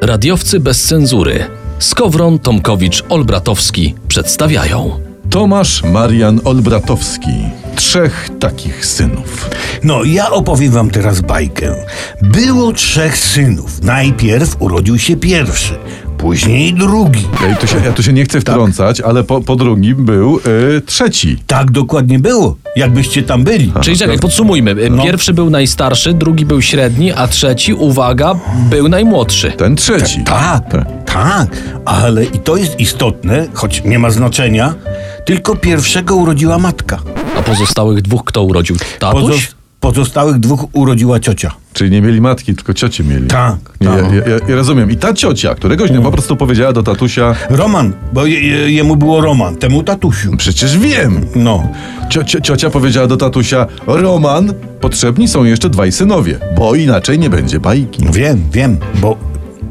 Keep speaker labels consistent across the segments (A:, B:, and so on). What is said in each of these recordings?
A: Radiowcy bez cenzury. Skowron, Tomkowicz, Olbratowski przedstawiają.
B: Tomasz Marian Olbratowski. Trzech takich synów.
C: No, ja opowiem wam teraz bajkę. Było trzech synów. Najpierw urodził się pierwszy, później drugi.
B: Ej, tu się, ja tu się nie chcę wtrącać, ale po, po drugim był y, trzeci.
C: Tak dokładnie było, jakbyście tam byli.
A: Czyli czekaj, podsumujmy. Y, Pierwszy był najstarszy, drugi był średni, a trzeci, uwaga, był najmłodszy.
B: Ten trzeci.
C: Tak, tak, ale i to jest istotne, choć nie ma znaczenia, tylko pierwszego urodziła matka.
A: A pozostałych dwóch kto urodził? Tatuś?
C: Pozos- pozostałych dwóch urodziła ciocia.
B: Czyli nie mieli matki, tylko ciocie mieli.
C: Tak,
B: Nie,
C: tak.
B: ja, ja, ja rozumiem. I ta ciocia któregoś dnia po prostu powiedziała do tatusia,
C: Roman, bo je, je, jemu było Roman, temu tatusiu.
B: przecież wiem.
C: No,
B: Cio, cio, ciocia powiedziała do tatusia, Roman, potrzebni są jeszcze dwaj synowie, bo inaczej nie będzie bajki.
C: wiem, wiem, bo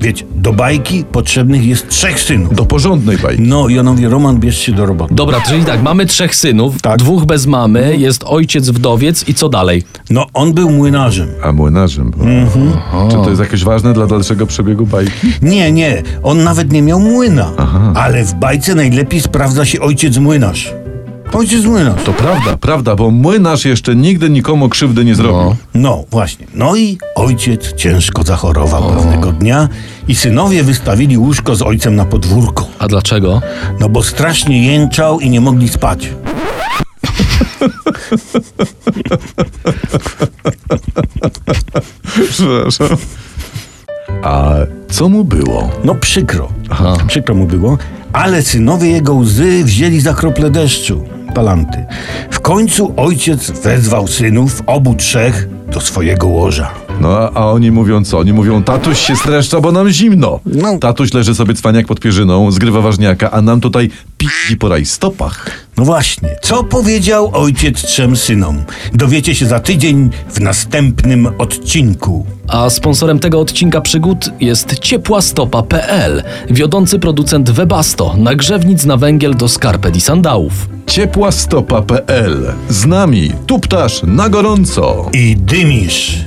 C: wiecie, do bajki potrzebnych jest trzech synów.
B: Do porządnej bajki.
C: No, ja mówię, Roman, bierz się do roboty.
A: Dobra, czyli tak, mamy trzech synów,
C: Tak.
A: dwóch bez mamy, jest ojciec wdowiec i co dalej?
C: No, on był młynarzem.
B: A młynarzem był. Czy to jest jakieś ważne dla dalszego przebiegu bajki?
C: Nie, nie, on nawet nie miał młyna. Ale w bajce najlepiej sprawdza się ojciec młynarz. Ojciec młynarz.
B: To prawda, prawda, bo młynarz jeszcze nigdy nikomu krzywdy nie zrobił.
C: No, właśnie. No i ojciec ciężko zachorował pewnego dnia i synowie wystawili łóżko z ojcem na podwórko.
A: A dlaczego?
C: No bo strasznie jęczał i nie mogli spać.
B: Przepraszam. A co mu było?
C: No przykro. Przykro mu było, ale synowie jego łzy wzięli za krople deszczu. Palanty. W końcu ojciec wezwał synów, obu trzech, do swojego łoża.
B: No a- a oni mówią co? Oni mówią, tatuś się streszcza, bo nam zimno.
C: No.
B: Tatuś leży sobie cwaniak pod pierzyną, zgrywa ważniaka, a nam tutaj pisi po rajstopach.
C: No właśnie, co powiedział ojciec trzem synom? Dowiecie się za tydzień w następnym odcinku.
A: A sponsorem tego odcinka przygód jest ciepłastopa.pl, wiodący producent Webasto, nagrzewnic na węgiel do skarpet i sandałów.
B: Ciepłastopa.pl Z nami, tu ptasz na gorąco.
C: I dymisz.